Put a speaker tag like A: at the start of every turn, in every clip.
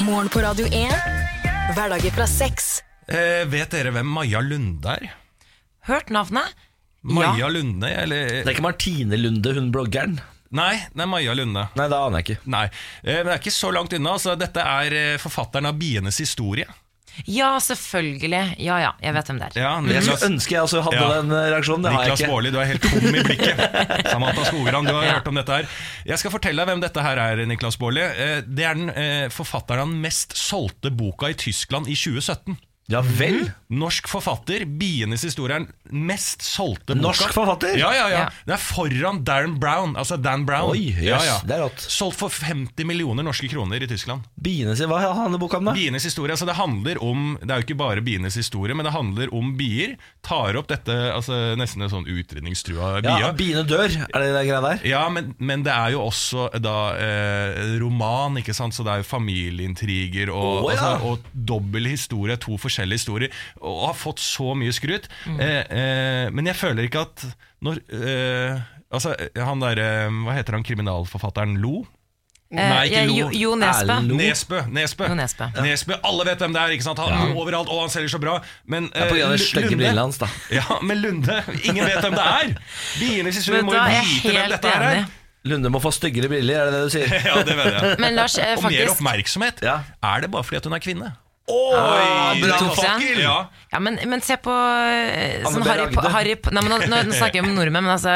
A: Morgen på Radio 1. Hverdager fra seks.
B: Eh, vet dere hvem Maja Lunde er?
C: Hørt navnet?
B: Maja Lunde, eller
D: Det er ikke Martine Lunde, hun bloggeren.
B: Nei, det er Maja Lunde.
D: Nei, det aner jeg ikke.
B: Nei, eh, men det er ikke så langt unna. Altså, dette er eh, forfatteren av Bienes historie.
C: Ja, selvfølgelig. Ja ja, jeg vet hvem det er.
B: Ja,
D: Jeg
B: Mm. Niklas,
D: skulle ønske jeg også hadde
B: Ja.
D: den eh, reaksjonen. Det har jeg
B: Niklas
D: ikke.
B: Baarli, du er helt tom i blikket. Samantha Skogran, du har
C: Ja.
B: hørt om dette her. Jeg skal fortelle deg hvem dette her er, Niklas Baarli. Eh, Det er den eh, forfatteren av den mest solgte boka i Tyskland i 2017.
D: Ja vel?
B: Mm. Norsk forfatter, Bienes historie er den mest solgte boka.
D: Norsk forfatter?
B: Ja, ja, ja,
C: Ja.
B: Det er foran Darren Brown, altså Dan Brown.
D: Oi, jøss,
B: ja, ja.
D: det er rått.
B: Solgt for 50 millioner norske kroner i Tyskland.
D: Biene sin, Hva handler boka om, da?
B: Bienes historie, altså det handler om Det er jo ikke bare bienes historie, men det handler om bier. Tar opp dette altså nesten en sånn utrydningstrua bia. Eh,
D: Ja, Biene dør, er det det greia der?
B: Ja, men, men det er jo også da eh, roman, ikke sant? Så det er jo familieintriger og,
D: Å, ja.
B: altså, og dobbel historie, to forskjellige historier, og har fått så mye skryt.
D: Mm.
B: Eh, eh, men jeg føler ikke at når eh, Altså, han derre Hva heter han kriminalforfatteren? Lo?
C: Eh,
B: Nei, ikke
C: jeg-
B: Lo.
C: jo, jo Nesbø.
D: Erlend Lo.
B: Nesbø. Nesbø.
C: Jo Nesbø.
B: Nesbø. Alle vet hvem det er. ikke sant? Han er overalt, og han selger så bra. Men eh,
D: Det er på grunn av de
B: Lu-
D: stygge
B: Lunde-
D: brillene hans, da.
B: Ja, men Lunde Ingen vet hvem det er! Bienes historie
C: Vet
B: må
C: du
B: jo
C: hva, jeg er
B: vite hvem
C: helt
B: dette her er.
C: enig.
D: Lunde må få styggere briller, er det det du sier?
B: Ja, det mener jeg.
C: Men Lars, eh,
B: Og mer
C: faktisk
B: oppmerksomhet.
D: Ja.
B: Er det bare fordi at hun er kvinne? Ah,
D: Oi,
C: bra tok den.
B: fakkel! Ja.
C: ja, men, men se på eh, sånn
D: Anne B.
C: Harry, Po-
D: Ragde.
C: Harry Po- Nei, men nå, nå nå snakker jeg om nordmenn, men altså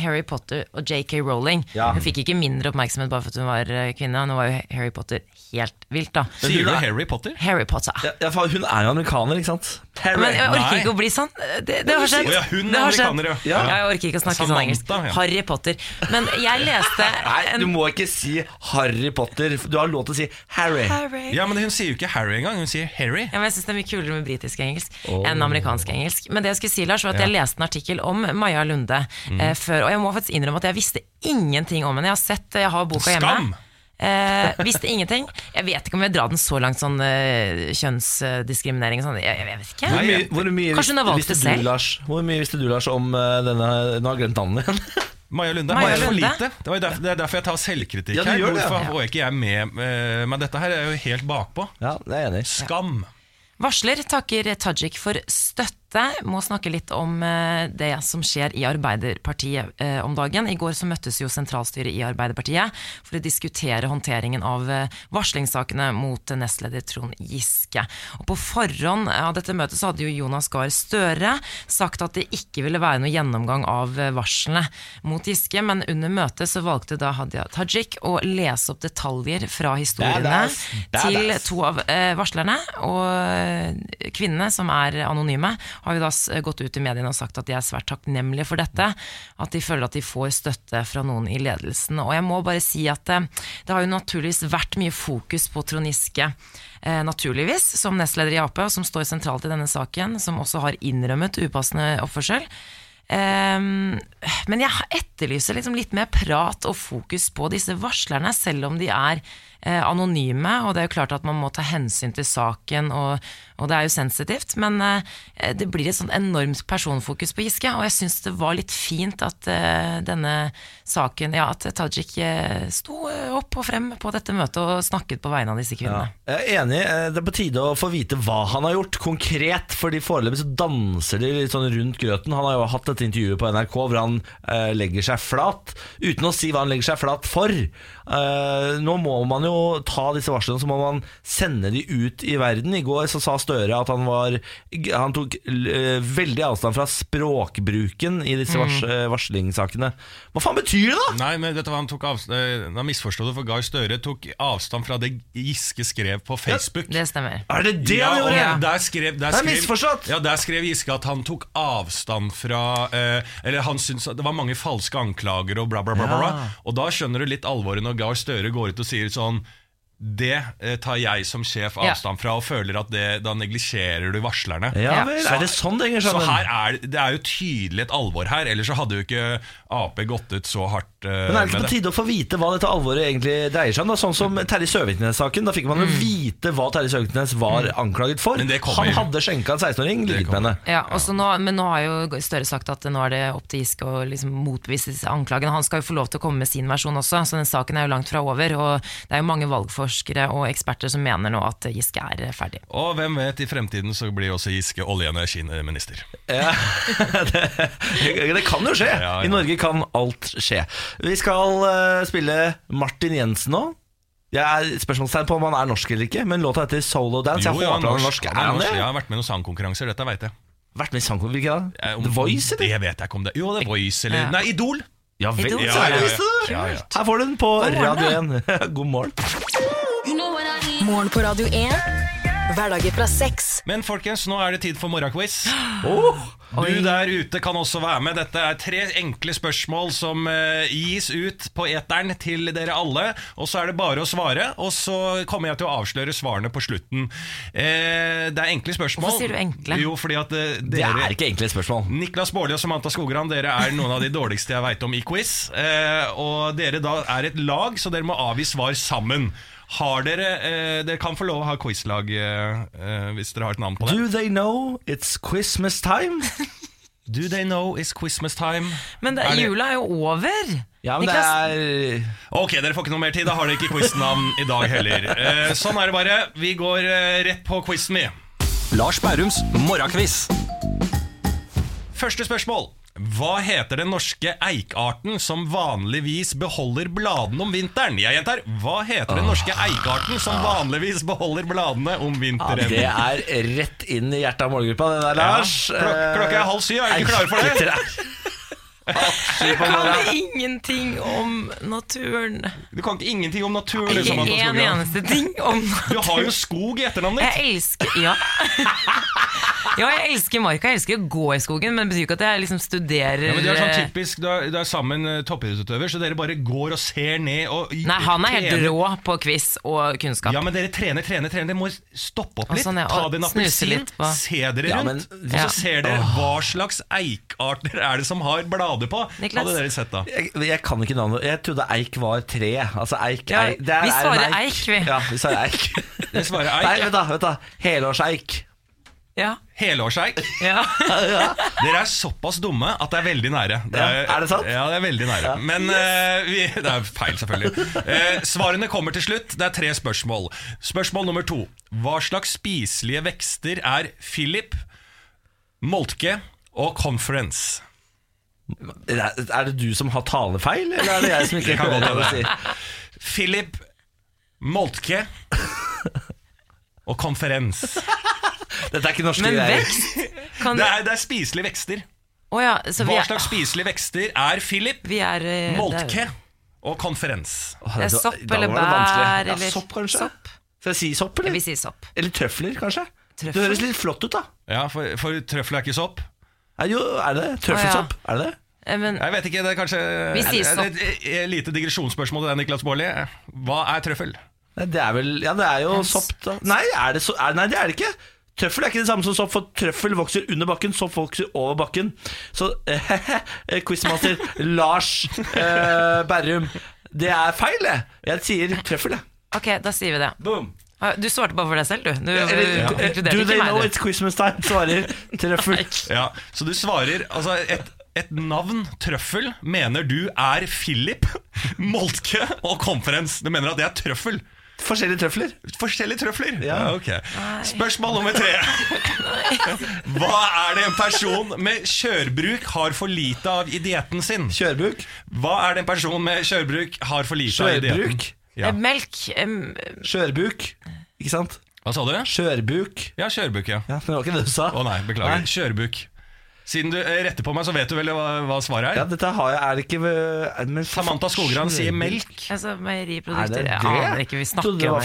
C: Harry Potter og JK Rowling
D: Ja.
C: Hun fikk ikke mindre oppmerksomhet bare for at hun var eh, kvinne. Nå var jo Harry Potter helt vilt, da.
B: Sier du
D: er-
B: Harry Potter?
C: Harry Potter.
D: Ja, ja, faen, hun er jo amerikaner, ikke sant?
C: Men jeg orker
B: Nei.
C: ikke å bli sånn. Det, det har skjedd.
B: Å ja, hun er
C: det har
B: amerikaner, ja.
C: Ja. Jeg orker ikke å snakke sånn
B: Samantha,
C: engelsk.
B: ja.
C: Harry Potter. Men jeg leste
D: Nei,
C: en
D: du må ikke si Harry Potter. Du har lov til å si Harry.
C: Harry.
B: Ja, men Hun sier jo ikke Harry engang, hun sier Harry.
C: Ja, men jeg synes Det er mye kulere med britisk engelsk enn amerikansk engelsk. Men det jeg skulle si, Lars, var at jeg leste en artikkel om Maja Lunde
B: Mm.
C: eh, før. Og jeg må faktisk innrømme at jeg visste ingenting om henne. Jeg har sett, jeg har boka hjemme.
B: Skam!
C: Eh, visste ingenting. Jeg vet ikke om jeg drar den så langt, sånn eh, kjønnsdiskriminering og sånn. Jeg, jeg vet ikke.
D: Hvor mye, hvor mye
C: Kanskje hun har valgt
D: visste
C: det
D: du,
C: selv?
D: Lars, hvor mye visste du, Lars, om eh, denne Nå har jeg glemt navnet igjen.
B: Maja Lunde.
C: Maja
B: Maja for
C: Lunde.
B: lite. Det, var jo derfor, det er derfor jeg tar selvkritikk
D: Ja, du
B: her.
D: gjør det, ja.
B: Hvorfor var ikke jeg med? eh, Men dette her er jo helt bakpå.
D: Ja, det er jeg enig i.
B: Skam!
C: Varsler takker Tajik for støtte. Må snakke litt om eh, det som skjer i Arbeiderpartiet eh, om dagen. I går så møttes jo sentralstyret i Arbeiderpartiet for å diskutere håndteringen av eh, varslingssakene mot nestleder Trond Giske. Og på forhånd av dette møtet så hadde jo Jonas Gahr Støre sagt at det ikke ville være noe gjennomgang av eh, varslene mot Giske, men under møtet så valgte da Hadia Tajik å lese opp detaljer fra historiene
D: Badass.
C: til
D: Badass.
C: to to av eh, varslerne og eh, kvinnene som er anonyme, har jo da s- gått ut i mediene og sagt at de er svært takknemlige for dette. At de føler at de får støtte fra noen i ledelsen. Og jeg må bare si at eh, det har jo naturligvis vært mye fokus på Trond Giske. Eh, naturligvis, som nestleder i Ap, og som står sentralt i denne saken, som også har innrømmet upassende oppførsel. Ehm, men jeg etterlyser liksom litt mer prat og fokus på disse varslerne, selv om de er eh, anonyme. Og det er jo klart at man må ta hensyn til saken, og, og det er jo sensitivt. Men eh, det blir et sånn enormt personfokus på Giske, og jeg syns det var litt fint at eh, denne saken Ja, at Tajik eh, sto eh, opp og frem på dette møtet og snakket på vegne av disse kvinnene.
D: Jeg er enig. eh, Det er på tide å få vite hva han har gjort konkret. Fordi foreløpig så danser de litt sånn rundt grøten. Han har jo hatt dette intervjuet på NRK hvor han eh, legger seg flat, uten å si hva han legger seg flat for. Eh, nå må man jo ta disse varslene, så må man sende de ut i verden. I går så sa Støre at han var Han tok eh, veldig avstand fra språkbruken i disse vars,
B: Mm.
D: eh, varslingssakene. Hva faen betyr det, da?!
B: Nei, men vet du hva han tok avst- eh, Han misforsto det, for Gahr Støre tok avstand fra det Giske skrev på Facebook.
C: Det stemmer.
D: Er det det han
B: og
D: gjorde?!
C: ja.
B: Der skrev, der
D: Det er
B: skrev,
D: misforstått.
B: Ja, der skrev Giske at han tok avstand fra eh, Eller han syntes at det var mange falske anklager og bla, bla, bla. bla, bla. Og da skjønner du litt alvoret når Gahr Støre går ut og sier sånn det eh, tar jeg som sjef
C: Ja.
B: avstand fra, og føler at det, da neglisjerer du varslerne.
D: Ja
C: Ja.
D: vel,
B: Så-
D: er det sånn det henger
B: Så
D: sammen?
B: her er, det er jo tydelig et alvor her, ellers så hadde jo ikke Ap gått ut så hardt eh,
D: Men er det
B: med
D: ikke på
B: det.
D: tide å få vite hva dette alvoret egentlig dreier seg om? da? Sånn som Terje Søviknes-saken. Da fikk man jo vite hva Terje Søviknes var anklaget for.
B: Mm. Men det kommer.
D: Han hadde skjenka en 16-åring, ligget med henne.
C: Ja, og så nå, men nå har jo Støre sagt at nå er det opp til Giske å liksom motbevise disse anklagene. Han skal jo få lov til å komme med sin versjon også, så den saken er jo langt fra over. Og det er jo mange valgforskere og eksperter som mener nå at Giske er ferdig.
B: Og hvem vet, i fremtiden så blir også Giske olje- og energiminister.
D: Ja. det, det kan jo skje.
B: ja.
D: I Norge kan alt skje. Vi skal eh, spille Martin Jensen nå. Jeg er spørsmålstegn på om han er norsk eller ikke, men låta heter Solo Dance.
B: Jo,
D: Altså, jeg
B: ja,
D: håper han er norsk.
B: Han
D: Er han det?
B: Jeg har vært med i noen sangkonkurranser, dette veit jeg.
D: Vært med i sangkonkurranse, hvilken da?
B: Eh, om-
D: The Voice, eller?
B: Det vet jeg ikke om det Jo, det er Voice, eller
C: Ja.
B: Nei, Idol!
D: Ja vel,
C: Idol,
D: så
B: ja,
D: er det
B: ja.
D: visst det.
B: Ja, ja.
D: Her får du den på
C: morgen,
D: Radio 1. God morgen.
A: Morgen på Radio 1. Hverdager fra seks.
B: Men folkens, nå er det tid for morgenquiz.
D: Oh.
B: Du der ute kan også være med. Dette er tre enkle spørsmål som eh, gis ut på eteren til dere alle. Og så er det bare å svare, og så kommer jeg til å avsløre svarene på slutten. Eh, det er enkle spørsmål.
C: Hvorfor sier du enkle?
B: Jo, fordi at eh,
D: Det
B: dere
D: er ikke enkle spørsmål.
B: Niklas Baarli og Samantha Skogran, dere er noen av de dårligste jeg veit om i quiz. Eh, og dere da er et lag, så dere må avgi svar sammen. Har dere eh, Dere kan få lov å ha quizlag eh, eh, hvis dere har et navn på det.
D: Do they know it's Christmas time?
B: Do they know it's Christmas time?
C: Men det,
B: Er det-
C: jula er jo over!
D: Ja, men det
C: Niklas,
D: er eh,
B: Ok, dere får ikke noe mer tid. Da har dere ikke quiznavn i dag heller. Eh, sånn er det bare. Vi går eh, rett på quizen, vi.
E: Lars Bærums morgenkviss.
B: Første spørsmål. Hva heter den norske eikarten som vanligvis beholder bladene om vinteren? Jeg gjentar. Hva heter den norske eikarten som
C: Ah.
B: vanligvis beholder bladene om
D: ja,
B: vinteren?
D: Det er rett inn i hjertet av målgruppa, det der,
B: Ja,
D: Lars. Eh,
B: klok- klokka er halv syv, er
C: eh,
B: dere klare for det?
D: Syv på
C: kan
D: morgenen.
C: det ingenting om naturen?
B: Du kan ikke ingenting om natur.
C: Ikke
B: Samantha
C: en
B: Skogran.
C: eneste ting om
B: Du har jo skog i etternavnet ditt.
C: Jeg elsker Ja. ja, jeg elsker marka. Jeg elsker å gå i skogen, men det betyr ikke at jeg liksom studerer
B: Ja, men det er sånn typisk, Du er, du er sammen eh, toppidrettsutøver, så dere bare går og ser ned og
C: Nei, han er helt
B: trener.
C: rå på quiz og kunnskap.
B: Ja, men dere trener, trener, trener. Dere må stoppe opp
C: Og
B: litt.
C: sånn, ja,
B: Ta
C: og
B: dere en
C: snuse
B: appelsin,
C: litt på-
B: se dere
D: Ja,
B: rundt.
D: men-
B: Og
C: Ja.
B: så ser dere hva slags eikarter er det som har blader på.
C: Niklas?
B: Hadde dere sett da.
D: Jeg, jeg kan ikke navnet. Jeg trodde eik var tre. Altså eik,
C: Ja,
D: eik det er,
C: vi
D: er en
C: svarer eik, vi.
D: Ja, vi svarer eik.
B: Dere svarer eik.
D: Nei, vent da. vent da Helårseik.
C: Ja,
B: Helårseik.
C: ja.
B: Dere er såpass dumme at det er veldig nære.
D: Ja, er det sant?
B: Ja, det er veldig nære. Men eh, vi, det er feil, selvfølgelig. Eh, svarene kommer til slutt. Det er tre spørsmål. Spørsmål nummer to. Hva slags spiselige vekster er Philip, moltke og conference?
D: Er er det du som har talefeil, eller er det jeg som ikke
B: kan godt
D: klarer å
B: hende.
D: si?
B: Philip Moltke og konferens.
D: Dette er ikke norske
C: Men
D: greier.
C: vekst kan
B: Det er, det er spiselige vekster.
C: Å ja, så vi
B: Hva
C: er,
B: slags spiselige vekster er Philip,
C: vi er eh, det
B: Moltke og konferens?
D: Åh,
C: Det er
D: så-
C: sopp
D: i dag
C: eller
D: var det vanskelig.
C: bær,
D: Ja,
C: eller-
D: sopp, kanskje?
C: sopp.
D: Skal jeg si sopp,
C: er-
D: eller?
C: Vi sier sopp.
D: Eller trøfler, kanskje? Det
C: Trøffel?
D: høres litt flott ut, da.
B: Ja, for, for trøffel er ikke sopp.
D: Er, jo, er det trøffelsopp? Er det det?
C: Eh, Men
B: Jeg vet ikke, det er kanskje
C: Vi sier
B: er det- er det Et eh, lite digresjonsspørsmål til deg, Niklas Baarli. Hva er trøffel?
D: Nei, det er vel Ja, det er jo sopp, da. Nei, er det så, er, nei, det er det ikke. Trøffel er ikke det samme som sopp, for trøffel vokser under bakken, sopp vokser over bakken. Så eh, quizmaster Lars eh, Berrum, det er feil, det. Jeg sier trøffel, jeg.
C: ok, da sier vi det.
D: Boom.
C: Ah, Du svarte bare for deg selv, du. Du, du
D: Eller, eh,
C: inkluderte
D: Do they
C: ikke
D: know
C: meg.
D: it's Christmas time? Svarer trøffel.
B: Ja, så du svarer altså et, et navn, trøffel, mener du er Philip, Moltke og konferens. Du mener at det er trøffel?
D: Forskjellige trøfler.
B: Forskjellige trøfler?
D: Ja.
B: ok Spørsmål nummer tre. Hva er det en person med kjørbruk har for lite av i dietten sin?
D: Kjørbuk.
B: Hva er det en person med kjørbruk har for lite av i dietten?
D: Skjørbruk.
C: du.
B: Ja.
C: Eh, Melk em,
D: Skjørbuk. Ikke sant?
B: Hva sa du?
D: Skjørbuk.
B: Ja, kjørbuk, ja.
D: Ja, men det var ikke det du sa.
B: Å nei, beklager. Kjørbuk. Siden du eh, retter på meg, så vet du vel hva, hva svaret
D: Ja,
B: er?
D: dette har jeg Er det ikke er, men,
B: Samantha Skogran sier melk.
C: altså
D: Er det
C: meieriprodukter.
D: det?
C: Jeg aner ikke, vi snakker
D: Trodde det
C: om
D: var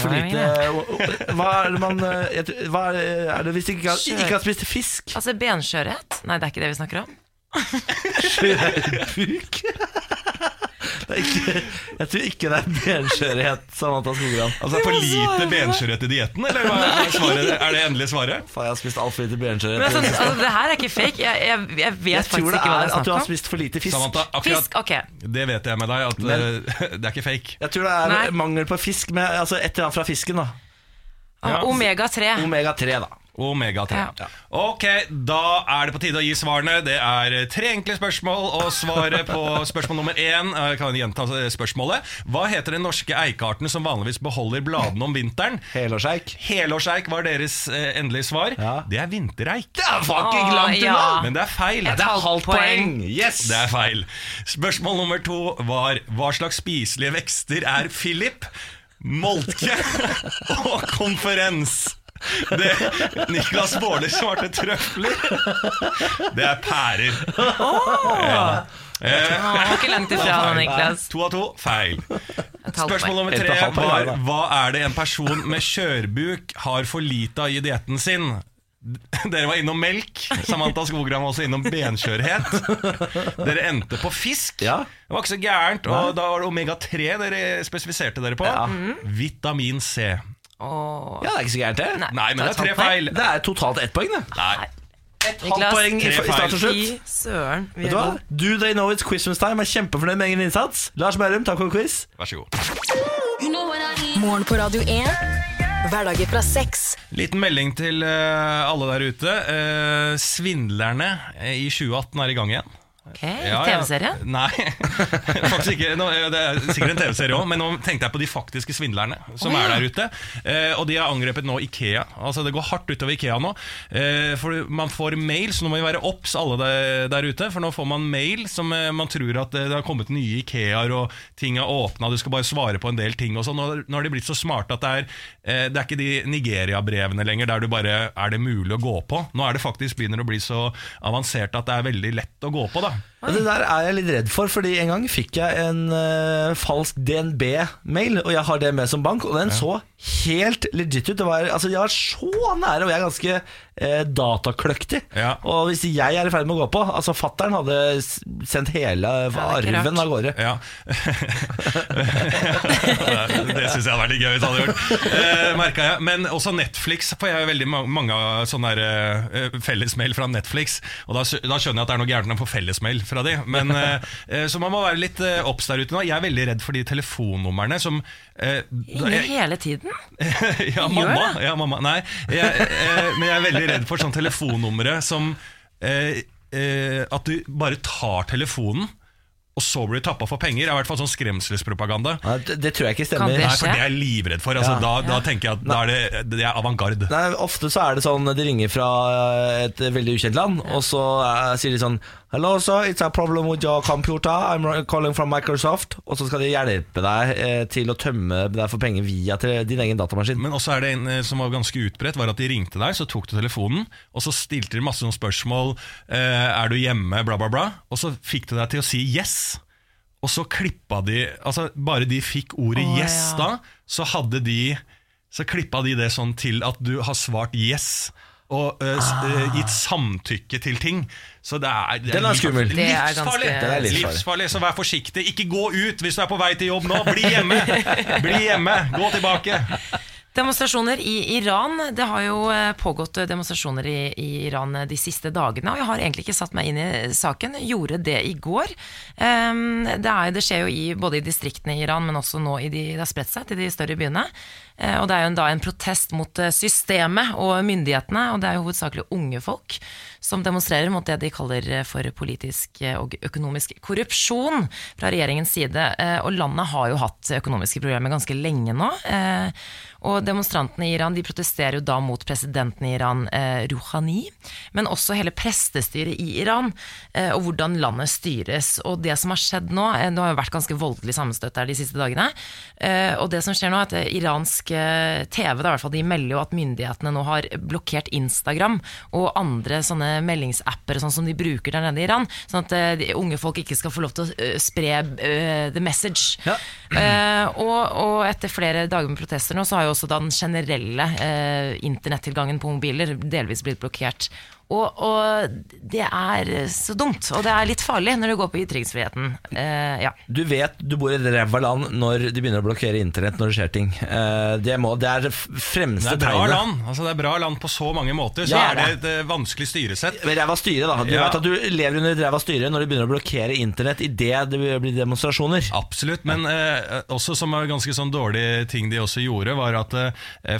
C: det.
D: for lite Hva er det man eh, jeg tror- Hva er det, er det hvis de ikke, har- ikke har spist fisk?
C: Altså benskjørhet? Nei, det er ikke det vi snakker om.
D: Skjørbuk. Ikke, jeg tror ikke det er benskjørhet, Samantha Skogran.
B: Altså, det er for
C: må svare
B: lite
C: på det.
B: benskjørhet i dietten, eller hva er svaret? Er det endelige svaret?
D: Faen, jeg har spist altfor lite
C: Men
D: benskjørhet.
C: altså, altså, det her er ikke fake. Jeg, jeg, jeg vet
D: Jeg
C: faktisk
D: tror det
C: ikke hva det er
D: er at du har
C: snakk om.
D: spist for lite fisk.
B: Samantha, akkurat
C: Fisk, ok.
B: det vet jeg med deg, at
D: Men-
B: eh, det er ikke fake.
D: Jeg tror det er
C: Nei.
D: mangel på fisk, men altså et eller annet fra fisken, da.
B: Ja.
C: Omega 3.
D: Omega-3, da.
B: Omega-3.
C: Ja.
B: Ok, da er det på tide å gi svarene. Det er eh, tre enkle spørsmål, og svaret på spørsmål nummer én eh, kan jeg gjenta eh, spørsmålet. Hva heter den norske eikarten som vanligvis beholder bladene om vinteren?
D: Helårseik.
B: Helårseik var deres eh, endelige svar.
D: Ja.
B: Det er vintereik.
D: Det er
C: Åh,
D: fucking langt
C: ja.
D: unna!
B: Men det er feil.
D: Det er halvt poeng.
C: Poeng.
D: Yes!
B: Det er feil. Spørsmål nummer to var hva slags spiselige vekster er Philip, moltke og konferens? Det, Niklas Baarli svarte trøfler. Det er pærer. Ja. Eh,
C: Han var ikke langt ifra,
B: feil.
C: han, Niklas.
B: To av to feil.
C: halvt
B: Spørsmål nummer
D: Et
B: tre
D: og halvt poeng,
B: var
D: da.
B: hva er det en person med skjørbuk har for lite av i dietten sin? Dere var innom melk. Samantha Skogran var også innom benskjørhet. Dere endte på fisk.
D: Ja.
B: Det var ikke så gærent. Og da var det omega-3 dere spesifiserte dere på.
D: Ja.
B: Mm. Vitamin C.
C: Åh.
D: Ja, det er ikke så gærent, det.
B: Nei, men det er tre
C: Nei.
B: feil.
D: Det er totalt ett poeng, det.
B: Nei.
D: Halvt
C: Niklas,
D: poeng i
B: tre
D: i start og
C: Fy
D: slutt.
C: søren. Vi er
D: Vet du hva?
C: gode.
D: Do they know it's Christmas time? Jeg er kjempefornøyd med egen innsats. Lars Bærum, takk for quiz.
B: Vær så god.
A: Morgen på Radio 1. Hverdager fra seks.
B: Liten melding til eh, alle der ute. Eh, svindlerne eh, i 2018 er i gang igjen.
C: Ok,
B: Ja, ja.
C: TV-serie?
B: Nei, faktisk ikke. Nå, det er sikkert en TV-serie òg, men nå tenkte jeg på de faktiske svindlerne som
C: Å, ja.
B: er der ute. Eh, og de har angrepet nå Ikea. Altså Det går hardt utover Ikea nå. Eh, for Man får mail, så nå må vi være obs alle der, der ute. For nå får man mail som eh, man tror at eh, det har kommet nye Ikeaer, og ting er åpna, du skal bare svare på en del ting. Og sånn. nå, nå har de blitt så smarte at det er, eh, det er ikke de Nigeria-brevene lenger der du bare Er det mulig å gå på? Nå er det faktisk begynner å bli så avansert at det er veldig lett å gå på, da.
D: Og Det der er jeg litt redd for, fordi en gang fikk jeg en eh, falsk DNB-mail, og jeg har DNB som bank, og den så helt legit ut. Det var, altså, jeg var så nære, og jeg er ganske eh, datakløktig.
B: Ja.
D: Og hvis jeg er i ferd med å gå på Altså, fattern hadde s- sendt hele
C: Ja, det er ikke
D: arven
C: rart.
D: av gårde.
B: Ja. det syns jeg hadde vært litt gøy hvis jeg hadde gjort. Eh, merket jeg. Men også Netflix får jeg veldig ma- mange av sånne der, eh, fellesmail fra Netflix. Og da, skj- da skjønner jeg at det er noe gærent når man får fellesmail fra de. Men, eh, eh, så man må være litt eh, obs der ute nå. Jeg er veldig redd for de telefonnumrene som eh, da-
C: Ringer
B: jeg-
C: hele tiden?
B: ja, mamma. Ja, mamma. Nei, jeg, eh, men jeg er veldig redd for sånn telefonnumre som eh, eh, At du bare tar telefonen, og så blir du tappa for penger. Det er i hvert fall sånn skremselspropaganda.
D: Nei, det, det tror jeg ikke
C: Kan
D: stemmer.
C: det
B: Nei, for det er jeg livredd for. Altså,
D: Ja.
B: da, da tenker jeg at da er det, det er avantgarde.
D: Nei, Ofte så er det sånn de ringer fra et veldig ukjent land, og så eh, sier de sånn Hello, sir, it's a problem with your computer. I'm calling from Microsoft. Og så skal de hjelpe deg eh, til å tømme deg for penger via til din egen datamaskin.
B: Men også er det en eh, som var ganske utbredt, var at de ringte deg, så tok du telefonen, og så stilte de masse sånne spørsmål eh, Er du hjemme? bla, bla, bla. Og så fikk de deg til å si yes. Og så klippa de Altså, bare de fikk ordet
C: Å,
B: yes
C: ja.
B: da, så hadde de Så klippa de det sånn til at du har svart yes. Og eh, s- eh, gitt samtykke til ting. Så det er, det
D: Ah. Den er skummel.
B: livsfarlig.
D: Det
C: er ganske-
D: Den er livsfarlig.
B: livsfarlig. Så vær forsiktig. Ikke gå ut hvis du er på vei til jobb nå. Bli hjemme! Bli hjemme! Gå tilbake!
C: Demonstrasjoner i Iran. Det har jo eh, pågått eh, demonstrasjoner i, i Iran eh, de siste dagene, og jeg har egentlig ikke satt meg inn i saken. Gjorde det i går. Ehm, Det, er, det skjer jo i, både i distriktene i Iran, men også nå i de, det har spredt seg til de større byene. Eh, Og det er jo en, da en protest mot eh, systemet og myndighetene, og det er jo hovedsakelig unge folk som demonstrerer mot det de kaller eh, for politisk eh, og økonomisk korrupsjon fra regjeringens side. Eh, Og landet har jo hatt økonomiske problemer ganske lenge nå. Eh, og demonstrantene i Iran de protesterer jo da mot presidenten i Iran, eh, Rouhani, men også hele prestestyret i Iran, eh, og hvordan landet styres. Og det som har skjedd nå, eh, det har jo vært ganske voldelig sammenstøt der de siste dagene, eh, og det som skjer nå er at eh, iransk eh, TV, da, i hvert fall de melder jo at myndighetene nå har blokkert Instagram og andre sånne meldingsapper og sånn som de bruker der nede i Iran, sånn at eh, de unge folk ikke skal få lov til å eh, spre eh, the message.
D: Ja.
C: Eh, og, og etter flere dager med protester nå, så har jo også da den generelle eh, internettilgangen på mobiler delvis blitt blokkert. Og, og det er så dumt, og det er litt farlig når det går på ytringsfriheten. Eh, ja.
D: Du vet du bor i et ræva land når de begynner å blokkere internett når det skjer ting. Eh, Det, må, det er det f-
B: Det
D: fremste
B: er bra
D: tegnet.
B: land altså det er bra land på så mange måter. Så
D: Ja,
B: er det et eh, vanskelig styresett.
D: Ved Ræva styre, da. Du
B: Ja.
D: vet at du lever under et ræva styre når de begynner å blokkere internett idet det blir demonstrasjoner.
B: Absolutt, men eh, også som er ganske sånn dårlig ting de også gjorde, var at eh,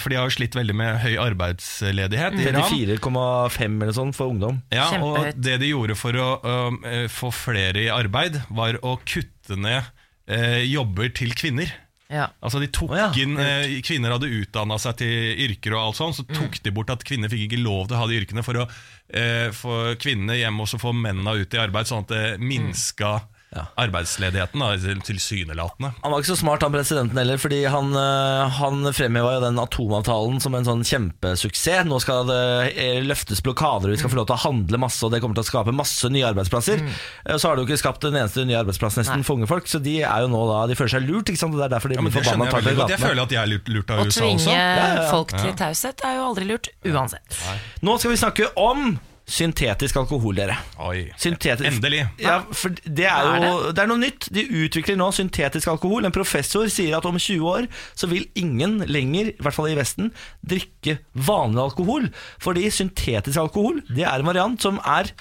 B: For de har jo slitt veldig med høy arbeidsledighet i Iran.
D: 34,5 eller sånn for ungdom.
B: Ja,
C: Kjempehøyt.
B: og det de gjorde for å um, eh, få flere i arbeid, var å kutte ned eh, jobber til kvinner.
C: Ja.
B: Altså De tok
D: Å ja,
B: inn eh, Kvinner hadde utdanna seg til yrker, og alt sånt så tok
D: Mm.
B: de bort at kvinner fikk ikke lov til å ha de yrkene for å eh, få kvinnene hjem og så få mennene ut i arbeid, sånn at det minska
D: Ja.
B: arbeidsledigheten, da, til- tilsynelatende.
D: Han var ikke så smart, han presidenten heller, fordi han, eh, han fremheva jo den atomavtalen som en sånn kjempesuksess. Nå skal det eh, løftes blokader, og vi skal få lov til å handle masse, og det kommer til å skape masse nye arbeidsplasser.
B: Mm.
D: Eh, Så har det jo ikke skapt en eneste ny arbeidsplass nesten
C: Nei.
D: for unge folk, så de er jo nå da De føler seg lurt, ikke sant. og Det er derfor de
B: Ja, men
D: blir
B: det skjønner
D: forbanna
B: jeg veldig
D: tatt i
B: godt. Jeg
D: gatene.
B: føler at jeg er lurt, lurt av
C: Å
B: USA
C: tvinge
B: også.
D: ja.
C: folk til taushet er jo aldri lurt, uansett.
D: Nå skal vi snakke om syntetisk alkohol, dere.
B: Oi.
D: Syntetisk.
B: Endelig.
D: Ja, for det er jo det er noe nytt. De utvikler nå syntetisk alkohol. En professor sier at om 20 år så vil ingen lenger, i hvert fall i Vesten, drikke vanlig alkohol. Fordi syntetisk alkohol det er en variant som er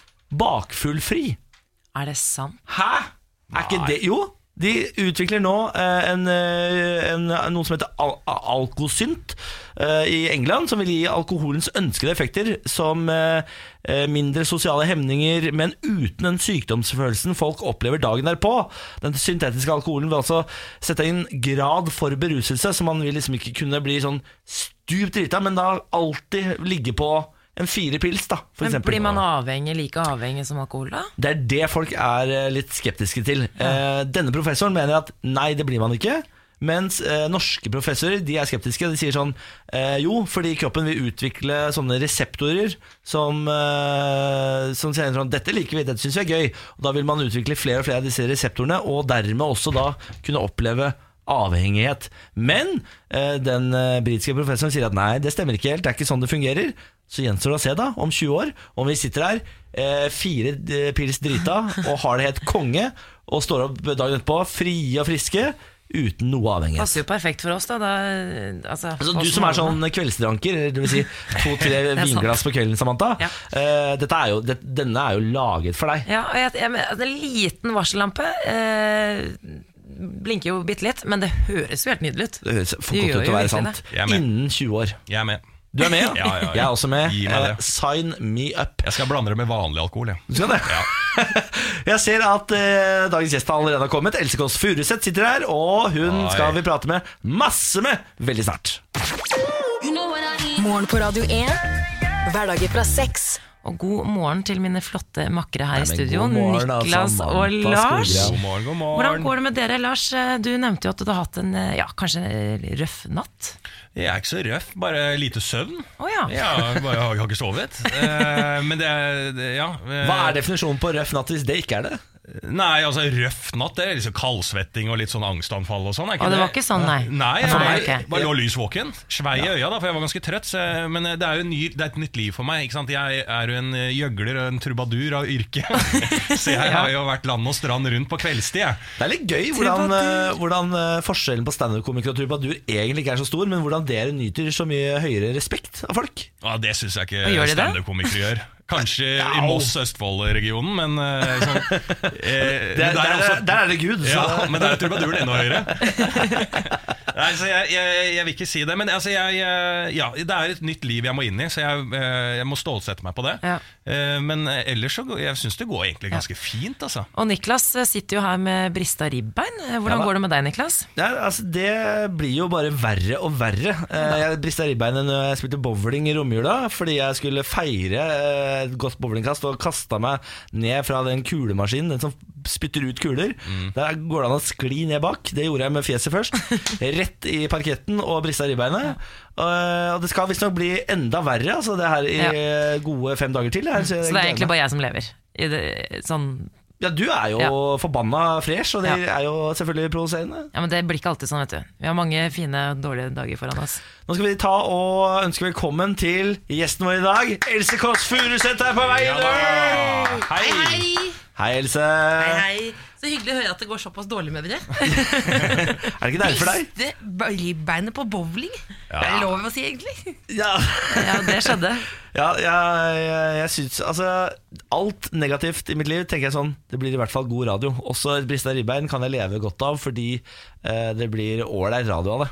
D: bakfullfri.
C: Er det sant?
D: Hæ? Er ikke det Jo! De utvikler nå eh, en, eh, en, noe som heter al al- alkosynt eh, i England, som vil gi alkoholens ønskede effekter, som eh, eh, mindre sosiale hemninger, men uten den sykdomsfølelsen folk opplever dagen derpå. Den syntetiske alkoholen vil altså sette inn grad for beruselse, så man vil liksom ikke kunne bli sånn stupt drita, men da alltid ligge på en fire pils, da, for
C: Men
D: eksempel.
C: blir man avhengig, like avhengig som alkohol, da?
D: Det er det folk er eh, litt skeptiske til. Eh, Denne professoren mener at nei, det blir man ikke. Mens eh, norske professorer de er skeptiske. De sier sånn eh, Jo, fordi kroppen vil utvikle sånne reseptorer som, eh, som sier sånn Dette liker vi, dette syns vi er gøy. Og da vil man utvikle flere og flere av disse reseptorene, og dermed også da kunne oppleve avhengighet. Men eh, den eh, britiske professoren sier at nei, det stemmer ikke helt, det er ikke sånn det fungerer. Så gjenstår det å se da, om 20 år, om vi sitter her eh, fire eh, pils drita og har det helt konge, og står opp dagen etterpå frie og friske, uten noe avhengighet.
C: Passer jo perfekt for oss, da. da altså,
D: Altså,
C: oss
D: du som er sånn
C: nordmenn.
D: kveldsdranker, eller det vil si to-tre
C: er sant.
D: vinglass på kvelden, Samantha.
C: Ja.
D: eh, dette er jo, det, denne er jo laget for deg.
C: Ja, og jeg, jeg, men, altså, En liten varsellampe eh, blinker jo bitte litt, men det høres jo helt nydelig ut.
D: Det høres for
C: Du
D: godt
C: gjør
D: ut
C: jo
D: til å være
C: virkelig
D: sant.
B: det. Jeg er med.
D: Innen 20 år.
B: Jeg er med.
D: Du er med, ja?
B: Ja, ja, ja.
D: Jeg er også med.
B: Gi meg det.
D: Eh, sign me up.
B: Jeg skal blande det med vanlig alkohol. Jeg.
D: Du skal det? Jeg ser at eh, dagens gjest allerede har kommet. Else Kåss Furuseth sitter her, og hun
B: Oi.
D: skal vi prate med masse med veldig snart.
A: Morgen på Radio 1. Hverdager fra seks.
C: Og god morgen til mine flotte makkere her
D: Nei, men
C: i studio,
D: god morgen, altså,
C: Niklas og
D: Samantha
C: Lars.
D: Skogran.
B: God morgen, god morgen.
C: Hvordan går det med dere, Lars? Eh, Du nevnte jo at du har hatt en eh, ja, kanskje eh, røff natt.
B: Jeg er ikke så røff, bare lite søvn.
C: Å ja.
B: Ja, jeg bare har, jeg har ikke sovet. Eh, men det er det- Ja.
D: Hva
B: Eh.
D: er definisjonen på røff natt hvis det ikke er det?
B: Nei, altså røff natt. Det er liksom kaldsvetting og litt sånn angstanfall og sånn. er
C: Å, det var ikke sånn, nei.
B: Nei, jeg
C: For meg
B: bare,
C: ikke.
B: bare lå lys våken. Svei i øya, da, for jeg var ganske trøtt. Så, men eh, det er jo en ny, det er et nytt liv for meg. Ikke sant? Jeg er jo en eh, gjøgler og en trubadur av yrke. så jeg har jo vært land og strand rundt på kveldstid. jeg.
D: Det er litt gøy hvordan, eh, hvordan eh, forskjellen på standup-komiker og trubadur egentlig ikke er så stor, men hvordan dere nyter så mye høyere respekt av folk.
B: Ja, det syns
C: Og
B: jeg
C: gjør
B: ikke
C: de det?
B: standup-komikere gjør. Kanskje i
D: Au.
B: Moss, Østfold-regionen, men eh, sånn, eh, men det
D: Der, der,
B: er
D: er,
B: også-
D: der er det Gud. Så.
B: Ja, men det er jo trubaduren enda høyere. Nei, så jeg, jeg, jeg vil ikke si det, men altså jeg, eh, ja, det er et nytt liv jeg må inn i, så jeg, eh, jeg må stålsette meg på det.
C: Ja.
B: Eh, Men eh, ellers så går- jeg syns det går egentlig ganske fint, altså.
C: Og Niklas eh, sitter jo her med brista ribbein. Eh, Hvordan
D: Ja da.
C: går det med deg, Niklas?
D: Ja, altså Det blir jo bare verre og verre. Eh, Jeg brista ribbeinet når jeg spilte bowling i romjula fordi jeg skulle feire eh, et godt bowlingkast og kasta meg ned fra den kulemaskinen, den som spytter ut kuler.
C: Mm.
D: Der går det an å skli ned bak. Det gjorde jeg med fjeset først. Rett i parketten og brista ribbeinet. Eh, Og det skal visstnok bli enda verre, altså det her i
C: Ja.
D: gode fem dager til. Det her, så jeg
C: Så det er
D: Eh, gleder meg.
C: egentlig bare jeg som lever. I det, sånn
D: Ja, du er jo
C: Ja.
D: forbanna fresh, og det
C: Ja.
D: er jo selvfølgelig provoserende.
C: Ja, men Det blir ikke alltid sånn, vet du. Vi har mange fine, dårlige dager foran oss.
D: Nå skal vi ta og ønske velkommen til gjesten vår i dag. Else Kåss Furuseth er på vei
B: Ja
D: i døren!
B: da. Hei!
D: Hei, Else.
F: Hei, hei. Så hyggelig å høre at det går såpass dålig med dere.
D: Er det ikke deilig for deg?
F: Miste ribbeinet på bowling. Er det lov å si, egentlig?
D: Ja,
C: Ja, det skjedde.
D: ja jeg, jeg, jeg syns Altså, alt negativt i mitt liv tenker jeg sånn Det blir i hvert fall god radio. Også et brista ribbein kan jeg leve godt av, fordi eh, det blir ålreit radio av det.